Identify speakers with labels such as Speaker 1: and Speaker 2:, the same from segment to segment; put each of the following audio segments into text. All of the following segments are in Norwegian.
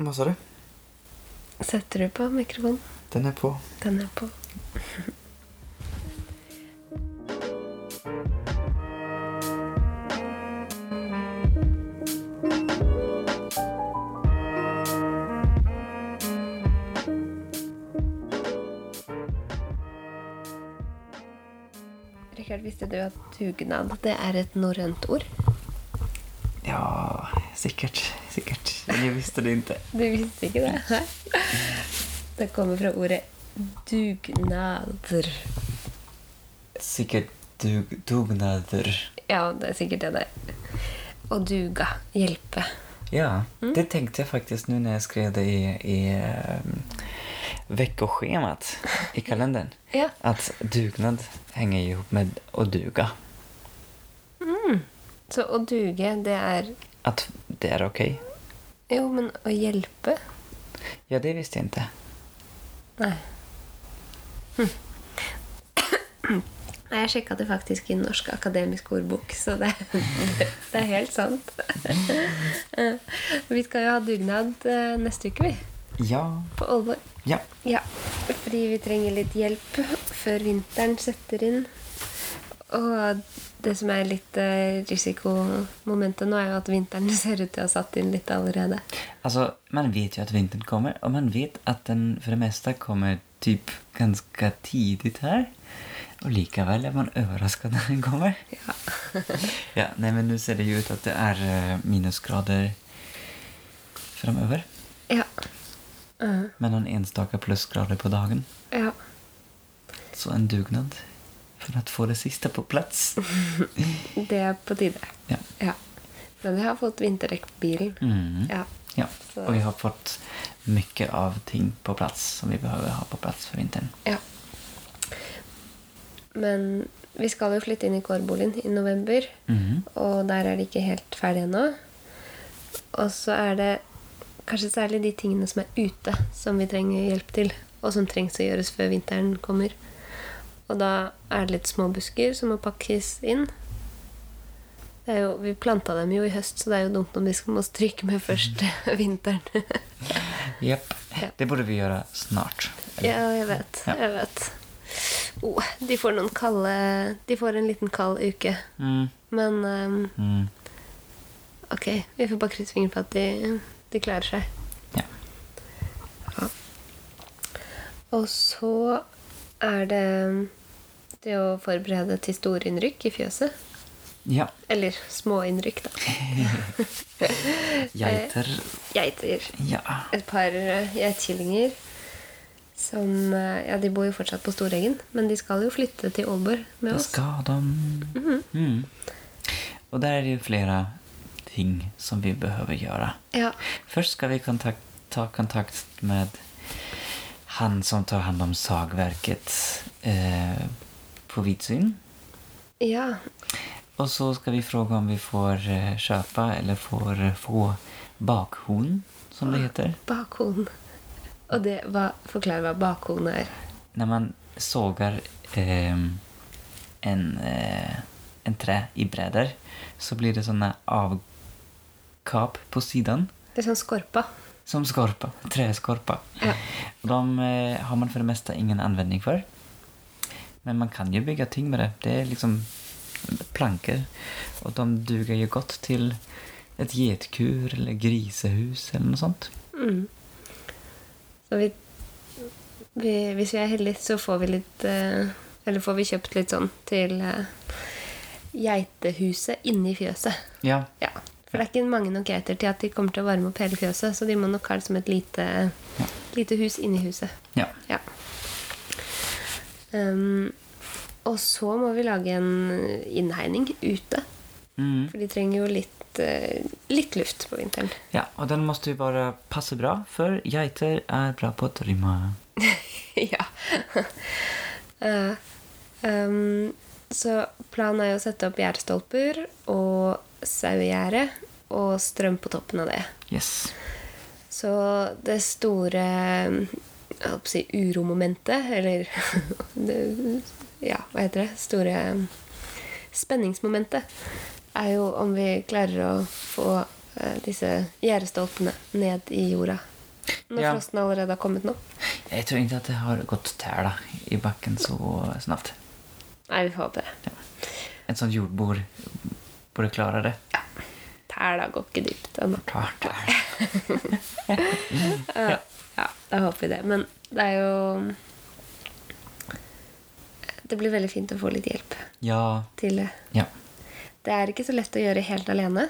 Speaker 1: Hva sa du?
Speaker 2: Setter du på mikrofonen?
Speaker 1: Den er på.
Speaker 2: Den er på. Rikard, visste du at dugnad det er et norrønt ord?
Speaker 1: Ja, sikkert. Sikkert. Jeg visste det ikke.
Speaker 2: Du visste ikke det? Det kommer fra ordet dugnader.
Speaker 1: Sikkert dug dugnader.
Speaker 2: Ja, det er sikkert det det er. Å duga. Hjelpe.
Speaker 1: Ja, det tenkte jeg faktisk nå når jeg skrev det i, i ehm, veckoschemat i kalenderen.
Speaker 2: Ja.
Speaker 1: At dugnad henger ihop med å duga.
Speaker 2: Mm. Så å duge, det er
Speaker 1: At det er ok.
Speaker 2: Jo, men å hjelpe
Speaker 1: Ja, det visste jeg ikke.
Speaker 2: Nei. Nei, jeg sjekka det faktisk i Norsk akademisk ordbok, så det, det er helt sant. Vi skal jo ha dugnad eh, neste uke, vi.
Speaker 1: Ja.
Speaker 2: På Aalborg.
Speaker 1: Ja.
Speaker 2: Ja, fordi vi trenger litt hjelp før vinteren setter inn. Og det som er litt eh, risikomomentet nå, er jo at vinteren ser ut til å ha satt inn litt allerede.
Speaker 1: Alltså, man vet ju att vintern kommer och man vet att den för det mesta kommer typ ganska tidigt här. Och likaväl är man överraskad när den kommer. Ja. ja, nej men nu ser det ju ut att det är eh, minusgrader framöver.
Speaker 2: Ja. Eh,
Speaker 1: Mellan enstaka plusgrader på dagen.
Speaker 2: ja.
Speaker 1: Så en dugnad för att få det sista på plats.
Speaker 2: Det er på tide.
Speaker 1: Ja.
Speaker 2: Ja. Men vi har fått vinterdekk på bilen.
Speaker 1: Mm.
Speaker 2: Ja.
Speaker 1: Ja,
Speaker 2: Så-
Speaker 1: och vi har fått mycket av ting på plats som vi behöver ha på plats för vintern.
Speaker 2: ja. Men vi skal jo flytte inn i kårboligen i november,
Speaker 1: Mm.
Speaker 2: og der er det ikke helt ferdig ennå. Og så er det kanskje særlig de tingene som er ute, som vi trenger hjelp til, og som trengs å gjøres før vinteren kommer. Og da er det litt små busker som må pakkes inn. Det er jo, vi planta dem jo i høst, så det er jo dumt om de skal må stryke med først vinteren.
Speaker 1: Japp.
Speaker 2: Ja.
Speaker 1: Det borde vi göra snart.
Speaker 2: Ja, jeg vet.
Speaker 1: Ja.
Speaker 2: Jeg vet. Oh, de får noen kalde De får en liten kald uke.
Speaker 1: Mm,
Speaker 2: Men ehm,
Speaker 1: mm.
Speaker 2: ok, vi får bare krysse fingrene for at de, de klarer seg.
Speaker 1: Ja.
Speaker 2: Ja. Og så er det det å forberede til store innrykk i fjøset.
Speaker 1: ja.
Speaker 2: Eller små innrykk, da. Eh.
Speaker 1: Geiter.
Speaker 2: Geiter.
Speaker 1: Ja.
Speaker 2: Et par eh, geitkillinger. Som eh, Ja, de bor jo fortsatt på Storeggen, men de skal jo flytte til Aalborg med
Speaker 1: Det
Speaker 2: oss.
Speaker 1: skal de.
Speaker 2: Mm-hmm.
Speaker 1: Mm. Og der er det ju flera ting som vi behöver göra.
Speaker 2: Ja.
Speaker 1: Först ska vi kontakt, ta kontakt med han som tar hand om sagverket eh, på Vidsyn.
Speaker 2: Ja,
Speaker 1: Och så ska vi fråga om vi får eh, köpa eller får eh, få bakhorn, som
Speaker 2: Ah.
Speaker 1: det heter.
Speaker 2: bakhorn. Og det hva, Forklar hva bakhorn er.
Speaker 1: När man sågar ehm, en, eh, en trä i brädor så blir det såna avkap på sidan
Speaker 2: Det er sånn skorpa.
Speaker 1: som skorpa, träskorpa.
Speaker 2: Ja.
Speaker 1: Och De eh, har man för det mesta ingen användning för. Men man kan ju bygga ting med det. Det är liksom plankor. Och de duger ju gott till ett getkur eller grisehus eller något sånt.
Speaker 2: Mm. Så vi, vi Hvis vi er heldige, så får vi litt eh, Eller får vi kjøpt litt sånn til eh, geitehuset inni fjøset.
Speaker 1: Ja,
Speaker 2: Ja. For det er ikke mange nok geiter til at de kommer til å varme opp hele fjøset, så de må nok ha det som et lite, lite hus inni huset.
Speaker 1: ja.
Speaker 2: Ja. Ehm, og så må vi lage en innhegning ute.
Speaker 1: Mm.
Speaker 2: For de trenger jo litt, eh, litt luft på vinteren.
Speaker 1: Ja, och den måste ju bara passa bra för geiter är bra på att rymma.
Speaker 2: ja. Eh, ehm, så planen er jo å sette opp gjerdestolper og sauegjerde og strøm på toppen av det.
Speaker 1: Yes.
Speaker 2: Så det store jeg holdt på å si, uromomentet, eller det, Ja, hva heter det? Store spenningsmomentet er jo om vi klarer å få eh, disse gjerdestolpene ned i jorda. Når
Speaker 1: Ja.
Speaker 2: frosten allerede har kommet nå.
Speaker 1: Jeg tror egentlig at det har gått tæla i bakken så snart.
Speaker 2: Nei, vi får håpe det.
Speaker 1: En sånn jordbord burde klare det.
Speaker 2: Tæla går ikke dypt ennå.
Speaker 1: Klart er det.
Speaker 2: Ja. ja, da håper vi det. Men det er jo Det blir veldig fint å få litt hjelp
Speaker 1: Ja.
Speaker 2: til det.
Speaker 1: ja.
Speaker 2: Det er ikke så lett å gjøre helt alene.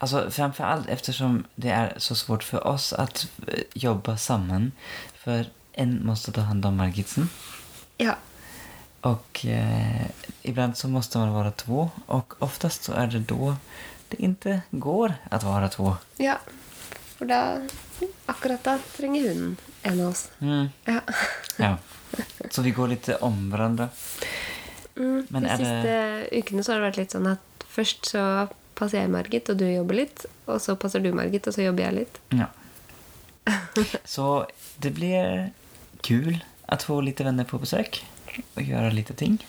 Speaker 1: Alltså framför allt Altså, eftersom det är så svårt för oss att eh, jobba samman. För en måste ta hand om Margitsen
Speaker 2: Ja,
Speaker 1: och eh, ibland så måste man vara två och oftast så är det då det inte går att vara två.
Speaker 2: ja. For da Akkurat da trenger hun en av oss.
Speaker 1: Mm.
Speaker 2: Ja.
Speaker 1: Ja. Så vi går lite om varandra.
Speaker 2: Mm,
Speaker 1: Men
Speaker 2: de
Speaker 1: er det-
Speaker 2: siste ukene så har det vært litt sånn at først så passer jeg Margit, og du jobber litt. Og så passer du Margit, og så jobber jeg litt.
Speaker 1: Ja. Så det blir kul att få lite vänner på besök och göra lite ting.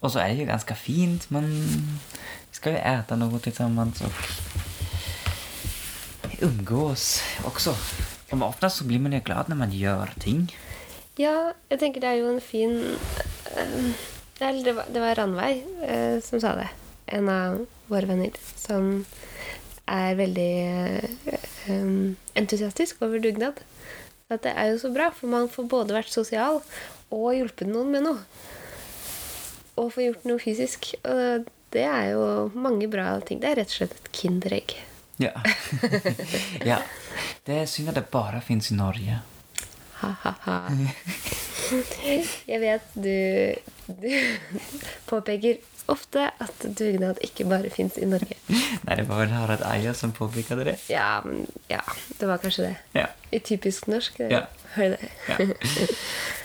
Speaker 1: Och så är det ju ganska fint. Man ska ju äta något tillsammans och umgås också. Och oftast så blir man ju glad när man gör ting.
Speaker 2: Ja, jeg tenker det er jo en fin eh, Eller det var, det var Ranveig eh, som sa det. En av våre venner som er veldig eh, em, entusiastisk over dugnad. At det er jo så bra, for man får både vært sosial og hjulpet noen med noe. Og få gjort noe fysisk. Og det er jo mange bra ting. Det er rett og slett et kinderegg.
Speaker 1: Ja. ja. Det är synd att det bara finns i Norge.
Speaker 2: Ha-ha-ha. Jeg vet du, du påpeker ofte at dugnad ikke bare fins i Norge.
Speaker 1: Nej, det var väl Harald Eia som påpekade det.
Speaker 2: Ja, men ja, det var kanskje det.
Speaker 1: Ja.
Speaker 2: I typisk norsk. Det,
Speaker 1: Ja.
Speaker 2: Hører du det?
Speaker 1: Ja.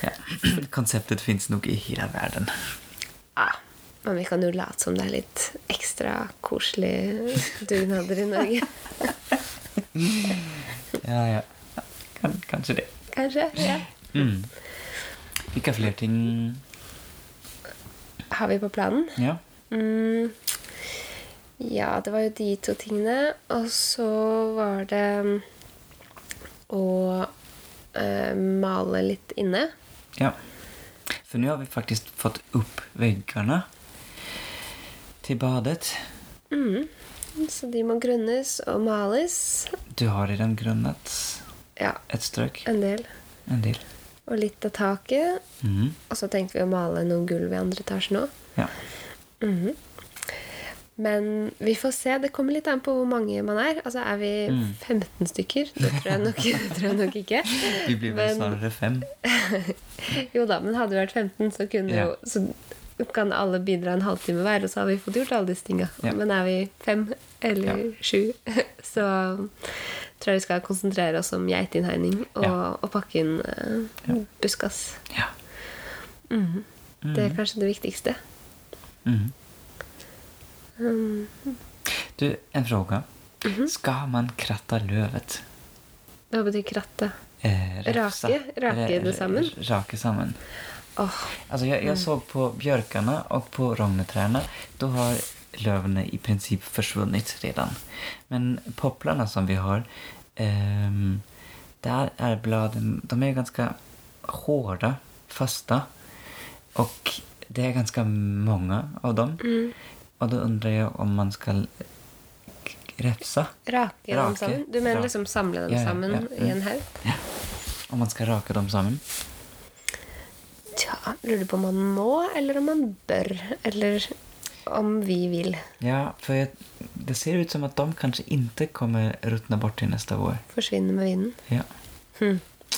Speaker 1: ja. Konceptet finns nog i hela världen.
Speaker 2: Ja. Men vi kan jo late som det er litt ekstra koselige dugnader i Norge.
Speaker 1: Ja, ja. Kan, kanske det.
Speaker 2: Kanskje? Ja.
Speaker 1: Mm. Vilka fler ting?
Speaker 2: Har vi på planen?
Speaker 1: Ja.
Speaker 2: Mm. Ja, det var jo de to tingene. Og så var det mm, å eh, male litt inne.
Speaker 1: ja. För nu har vi faktiskt fått upp väggarna till badet.
Speaker 2: Så de må grønnes og males.
Speaker 1: Du har redan grunnat
Speaker 2: Ja,
Speaker 1: ett strök.
Speaker 2: en del.
Speaker 1: En del.
Speaker 2: Og litt av taket.
Speaker 1: Mm.
Speaker 2: Og så tenkte vi å male noen gulv i andre etasjen òg.
Speaker 1: Ja.
Speaker 2: Men vi får se. Det kommer litt an på hvor mange man er. Altså, Er vi 15 stykker? Det tror jeg nok, det tror jeg nok ikke.
Speaker 1: Vi blir väl
Speaker 2: Men-
Speaker 1: snarare fem.
Speaker 2: Jo da, men hadde vi vært 15, så, kunne
Speaker 1: Ja.
Speaker 2: jo, så kan alle bidra en halvtime hver, og så har vi fått gjort alle disse tinga.
Speaker 1: Ja.
Speaker 2: Men er vi fem eller sju, så tror jeg vi skal konsentrere oss om geitinnhegning og,
Speaker 1: Ja.
Speaker 2: og pakke inn eh, buskas.
Speaker 1: Ja.
Speaker 2: Det
Speaker 1: Mhm.
Speaker 2: er kanskje det viktigste.
Speaker 1: Mm. Du, en fråga. Ska man kratta lövet?
Speaker 2: Hva betyr kratte?
Speaker 1: Eh, rafsa?
Speaker 2: Rake- rake
Speaker 1: Eller-
Speaker 2: det sammen? Mm.
Speaker 1: Rake sammen. Altså,
Speaker 2: Åh,
Speaker 1: Alltså jag, jag såg på björkarna och på rogneträna, då har löven i princip försvunnit redan. Men popplarna som vi har, ehm, där är bladen, de är ganska hårda, fasta. Och det är ganska många av dem.
Speaker 2: Mm.
Speaker 1: Och då undrar jag om man ska k- refsa,
Speaker 2: rake dem
Speaker 1: Rake.
Speaker 2: sammen? Du mener
Speaker 1: Rake.
Speaker 2: liksom samle dem
Speaker 1: Ja, ja,
Speaker 2: sammen
Speaker 1: ja.
Speaker 2: i
Speaker 1: Mm.
Speaker 2: en haug?
Speaker 1: om man ska raka dem samman.
Speaker 2: Tja, lurer på om man må, eller om man bør, eller om vi vil.
Speaker 1: Ja, för jag, det ser ut som att de kanske inte kommer ruttna bort till nästa vår.
Speaker 2: Forsvinne med vinden. Hm.
Speaker 1: Ja.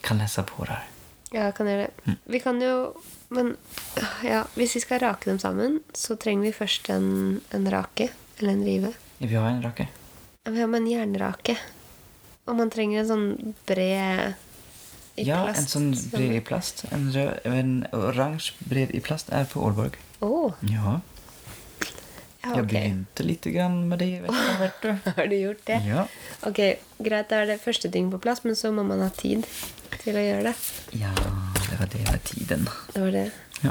Speaker 1: Kan läsa på där.
Speaker 2: Ja, kan gjøre
Speaker 1: Mm.
Speaker 2: det. Vi kan jo Men ja, hvis vi skal rake dem sammen, så trenger vi først en, en rake. Eller en rive.
Speaker 1: Vi har en rake.
Speaker 2: Ja, Vi har med en jernrake. Og man trenger en sånn bred i
Speaker 1: ja,
Speaker 2: plast.
Speaker 1: en sån bred i plast. En, rö- en orange bred i plast är på Ålborg.
Speaker 2: Å!
Speaker 1: Ja.
Speaker 2: ja,
Speaker 1: Jag
Speaker 2: ok.
Speaker 1: begynte lite grann med det i veckan, vet du.
Speaker 2: Har du gjort det?
Speaker 1: Ja.
Speaker 2: Ok, Greit, da er det første ting på plass, men så må man ha tid til å gjøre det.
Speaker 1: ja, det var det med tiden.
Speaker 2: Det var det.
Speaker 1: Ja.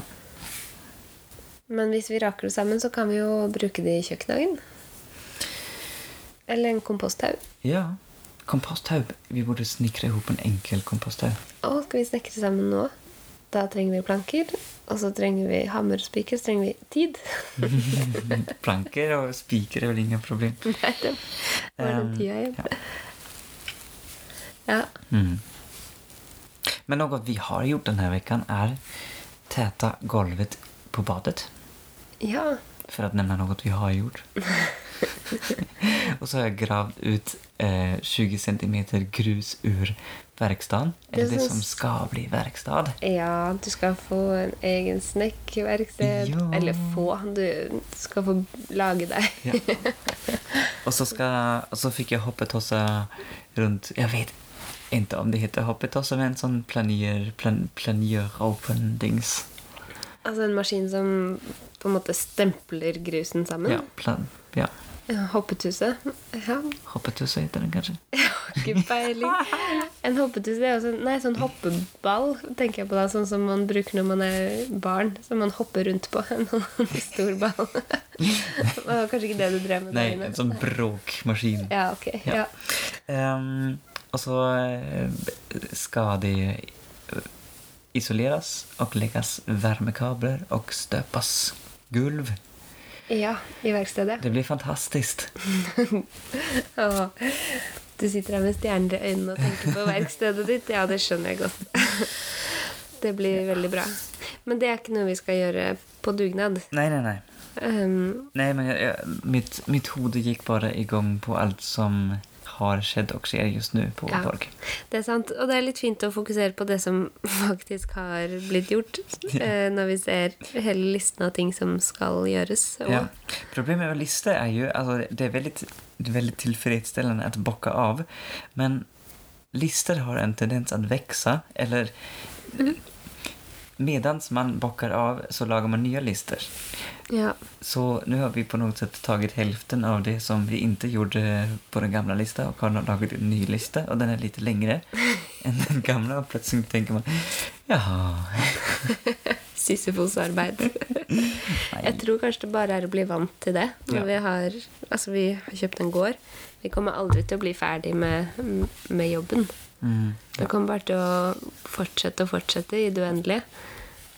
Speaker 2: Men hvis vi raker det sammen, så kan vi jo bruke det i kjøkkenhagen. Eller en komposthaug.
Speaker 1: Ja. Komposthaug. Vi burde snikre i hop en enkel komposthaug.
Speaker 2: Og skal vi snekre sammen nå? Da trenger vi planker. Og så trenger vi hammer og spiker. Så trenger vi tid.
Speaker 1: Planker og spiker er vel ingen problem.
Speaker 2: Nei, det var den
Speaker 1: Um,
Speaker 2: tida igjen. Ja.
Speaker 1: Mm. Men noe vi har gjort denne veckan er täta golvet på badet.
Speaker 2: ja.
Speaker 1: För att nämna något vi har gjort. och så har jag gravt ut eh, 20 centimeter grus ur verkstaden.
Speaker 2: Det
Speaker 1: Eller det
Speaker 2: som-
Speaker 1: som ska bli verkstad.
Speaker 2: Ja, du skal få en egen snekkerverksted.
Speaker 1: Ja.
Speaker 2: Eller få. Du skal få lage deg.
Speaker 1: Ja. Och så, ska, och så fick jag hoppetossa runt, jag vet inte om det heter hoppetossa, men en sån planier, plan, planier open dings.
Speaker 2: Altså en maskin som på en måte stempler grusen sammen.
Speaker 1: Ja, plan, ja.
Speaker 2: Hoppetuset. Ja,
Speaker 1: Hoppetossa heter den kanske.
Speaker 2: ikke peiling. En hoppetus det er også Nei, sånn hoppeball tenker jeg på da. Sånn som man bruker når man er barn. Som man hopper rundt på. En sånn stor ball. Det var kanskje ikke det du drev med? der
Speaker 1: Nej,
Speaker 2: inne.
Speaker 1: en sån bråkmaskin.
Speaker 2: Ja, ok.
Speaker 1: Ja.
Speaker 2: Ja.
Speaker 1: Ehm, og så eh, skal de eh, isoleres og legges varmekabler og støpes gulv.
Speaker 2: ja, i verkstedet.
Speaker 1: Det blir fantastisk.
Speaker 2: Åh. Du sitter her med stjerner i øynene og tenker på verkstedet ditt. Ja, det skjønner jeg godt. Det blir veldig bra. Men det er ikke noe vi skal gjøre på dugnad.
Speaker 1: Nei, nei, nei.
Speaker 2: Um,
Speaker 1: nei men jeg, jeg, mitt, mitt hode gikk bare i gang på alt som har skjedd og skjer just nå på
Speaker 2: Ja.
Speaker 1: torg.
Speaker 2: det er sant. Og det er litt fint å fokusere på det som faktisk har blitt gjort,
Speaker 1: Ja.
Speaker 2: eh, når vi ser hele listen av ting som skal gjøres. Og,
Speaker 1: Ja. Problemet med liste er jo altså, Det er veldig, det er veldig tilfredsstillende å bokke av, men lister har en tendens å vokse, eller Medans man bockar av så lagar man nya listor.
Speaker 2: ja.
Speaker 1: Så nu har vi på något sätt tagit hälften av det som vi inte gjorde på den gamla listan och har lagat en ny lista och den är lite längre än den gamla och plötsligt tänker man jaha,
Speaker 2: Sisyfos-arbeid. Jeg
Speaker 1: nej,
Speaker 2: tror kanskje det bare er å bli vant til det. Når
Speaker 1: Ja.
Speaker 2: vi, har, altså vi har kjøpt en gård. Vi kommer aldri til å bli ferdig med, med jobben.
Speaker 1: mm,
Speaker 2: Vi kommer bare til å fortsette og fortsette i det uendelige.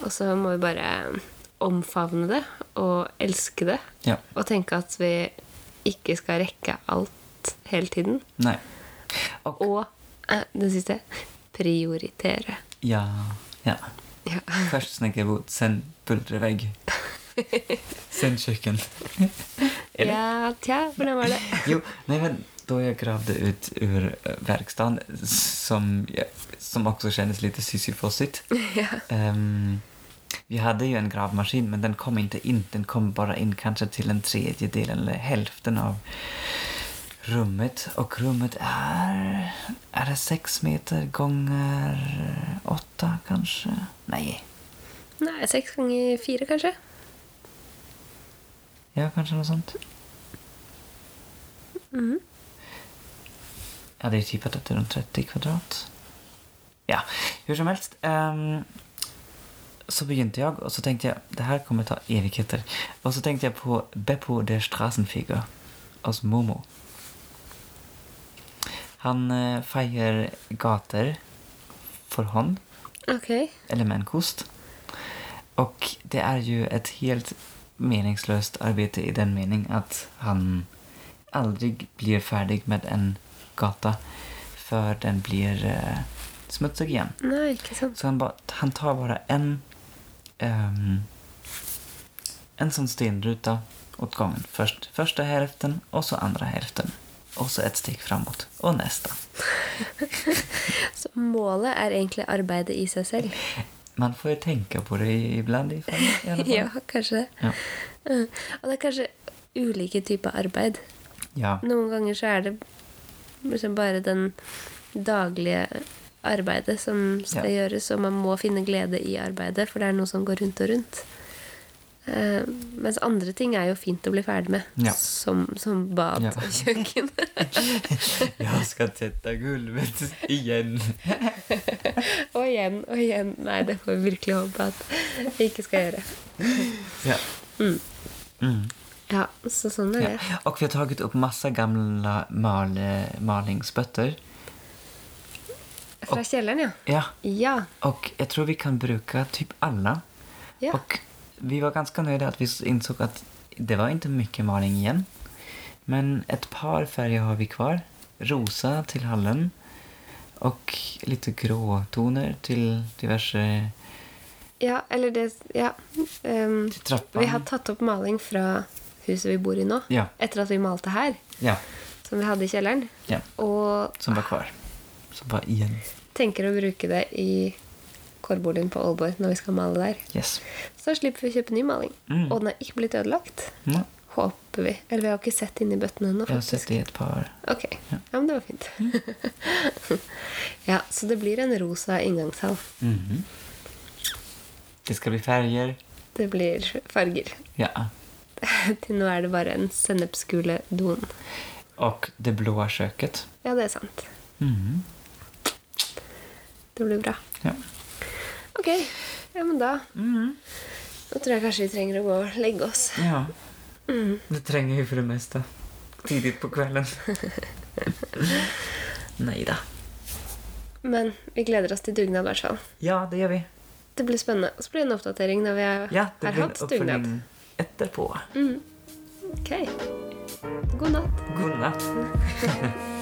Speaker 2: Og så må vi bare omfavne det og elske det.
Speaker 1: ja,
Speaker 2: Og tenke at vi ikke skal rekke alt hele tiden.
Speaker 1: nej,
Speaker 2: Og eh, det siste prioritere.
Speaker 1: ja, ja.
Speaker 2: Ja.
Speaker 1: Först snäckarbo, sen pulvervägg, sen köken. Eller?
Speaker 2: ja, tja, hvordan var det?
Speaker 1: Jo, nej men då jag gravde ut ur eh, verkstaden som, jag- som också kändes lite sisyfosigt. Ehm, vi hade ju en gravmaskin men den kom inte in. Den kom bara in kanske till en tredjedel eller hälften av rummet. Och rummet är... Är det sex meter gånger åtta kanske? Nej,
Speaker 2: Nei, seks ganger fire, kanskje?
Speaker 1: ja kanske något sånt.
Speaker 2: Mhm.
Speaker 1: Ja, det är typ att det är runt 30 kvadrat. Ja, hur som helst. ehm, så begynte jag och så tänkte jag, det här kommer ta evigheter. Och så tänkte jag på Beppo der Straßenfeger, hos Momo. Han eh, fejer gator för hånd,
Speaker 2: Ok.
Speaker 1: eller med en kost. Och det är ju ett helt meningslöst arbete i den mening att han aldrig blir färdig med en gata för den blir eh, smutsig igen.
Speaker 2: Nei, ikke sant.
Speaker 1: Så han, ba, han tar bara en ehm, en sån stenruta åt gången. Först första hälften och så andra hälften. Och så ett steg framåt och nästa.
Speaker 2: Så målet er egentlig arbeidet i seg selv.
Speaker 1: Man får ju tänka på det ibland i, fall, i alla fall.
Speaker 2: Ja, kanskje det.
Speaker 1: Ja.
Speaker 2: Mm. Og det er kanskje ulike typer arbeid.
Speaker 1: ja.
Speaker 2: Noen ganger så er det liksom bare den daglige arbeidet som skal
Speaker 1: Ja.
Speaker 2: gjøres, og man må finne glede i arbeidet, for det er noe som går rundt og rundt. Eh, mens andre ting er jo fint å bli ferdig med,
Speaker 1: Ja.
Speaker 2: som, som bad
Speaker 1: Ja.
Speaker 2: og kjøkken.
Speaker 1: Jag ska tvätta golvet igen.
Speaker 2: og igjen og igjen. Nei, det får vi virkelig håpe at vi ikke skal gjøre.
Speaker 1: Ja. Mm.
Speaker 2: Ja, så sånn er
Speaker 1: Ja.
Speaker 2: det.
Speaker 1: Och vi har tagit upp massa gamla mal, malingsbötter.
Speaker 2: Fra kjelleren, ja.
Speaker 1: Ja,
Speaker 2: Ja.
Speaker 1: och jag tror vi kan bruka typ alla.
Speaker 2: Ja.
Speaker 1: Och vi var ganska nöjda att vi insåg att det var inte mycket maling igen. Men ett par färger har vi kvar. Rosa till hallen och lite gråtoner till diverse...
Speaker 2: ja eller det Ja. Ehm,
Speaker 1: Til trappa.
Speaker 2: vi har tatt opp maling fra huset vi bor i nå.
Speaker 1: Ja.
Speaker 2: Etter at vi malte her,
Speaker 1: Ja,
Speaker 2: som vi hadde i kjelleren.
Speaker 1: ja
Speaker 2: Og
Speaker 1: som var kvar. Som var igen.
Speaker 2: tenker å bruke det i kårboligen på Aalborg når vi skal male der.
Speaker 1: Yes.
Speaker 2: Så slipper vi å kjøpe ny maling.
Speaker 1: Mm.
Speaker 2: Og den har ikke blitt ødelagt.
Speaker 1: Mm.
Speaker 2: Håper vi. Eller vi har ikke sett inni bøttene ennå,
Speaker 1: Jag har sett
Speaker 2: faktisk.
Speaker 1: det i ett par.
Speaker 2: Ok. Ja, men det var fint. ja, så det blir en rosa inngangshall.
Speaker 1: Mhm. Det ska bli färger.
Speaker 2: Det blir farger.
Speaker 1: Ja.
Speaker 2: Til nå er det bare en sennepsgule don.
Speaker 1: Och det blåa köket.
Speaker 2: Ja, det er sant.
Speaker 1: Mhm.
Speaker 2: Det blir bra.
Speaker 1: Ja.
Speaker 2: Ok, ja, men da
Speaker 1: Mhm.
Speaker 2: Nå tror jeg kanskje vi trenger å gå og legge oss.
Speaker 1: ja.
Speaker 2: Mm.
Speaker 1: Det tränger ju för det mesta. Tidigt på kvällen. Nej då.
Speaker 2: Men vi gleder oss til dugnad, i hvert fall.
Speaker 1: Ja, det gör vi.
Speaker 2: Det blir spennende. Og så blir det en oppdatering når vi har,
Speaker 1: Ja, det
Speaker 2: har
Speaker 1: blir en
Speaker 2: hatt dugnad.
Speaker 1: uppföljning etterpå.
Speaker 2: Ok. God natt.
Speaker 1: God natt.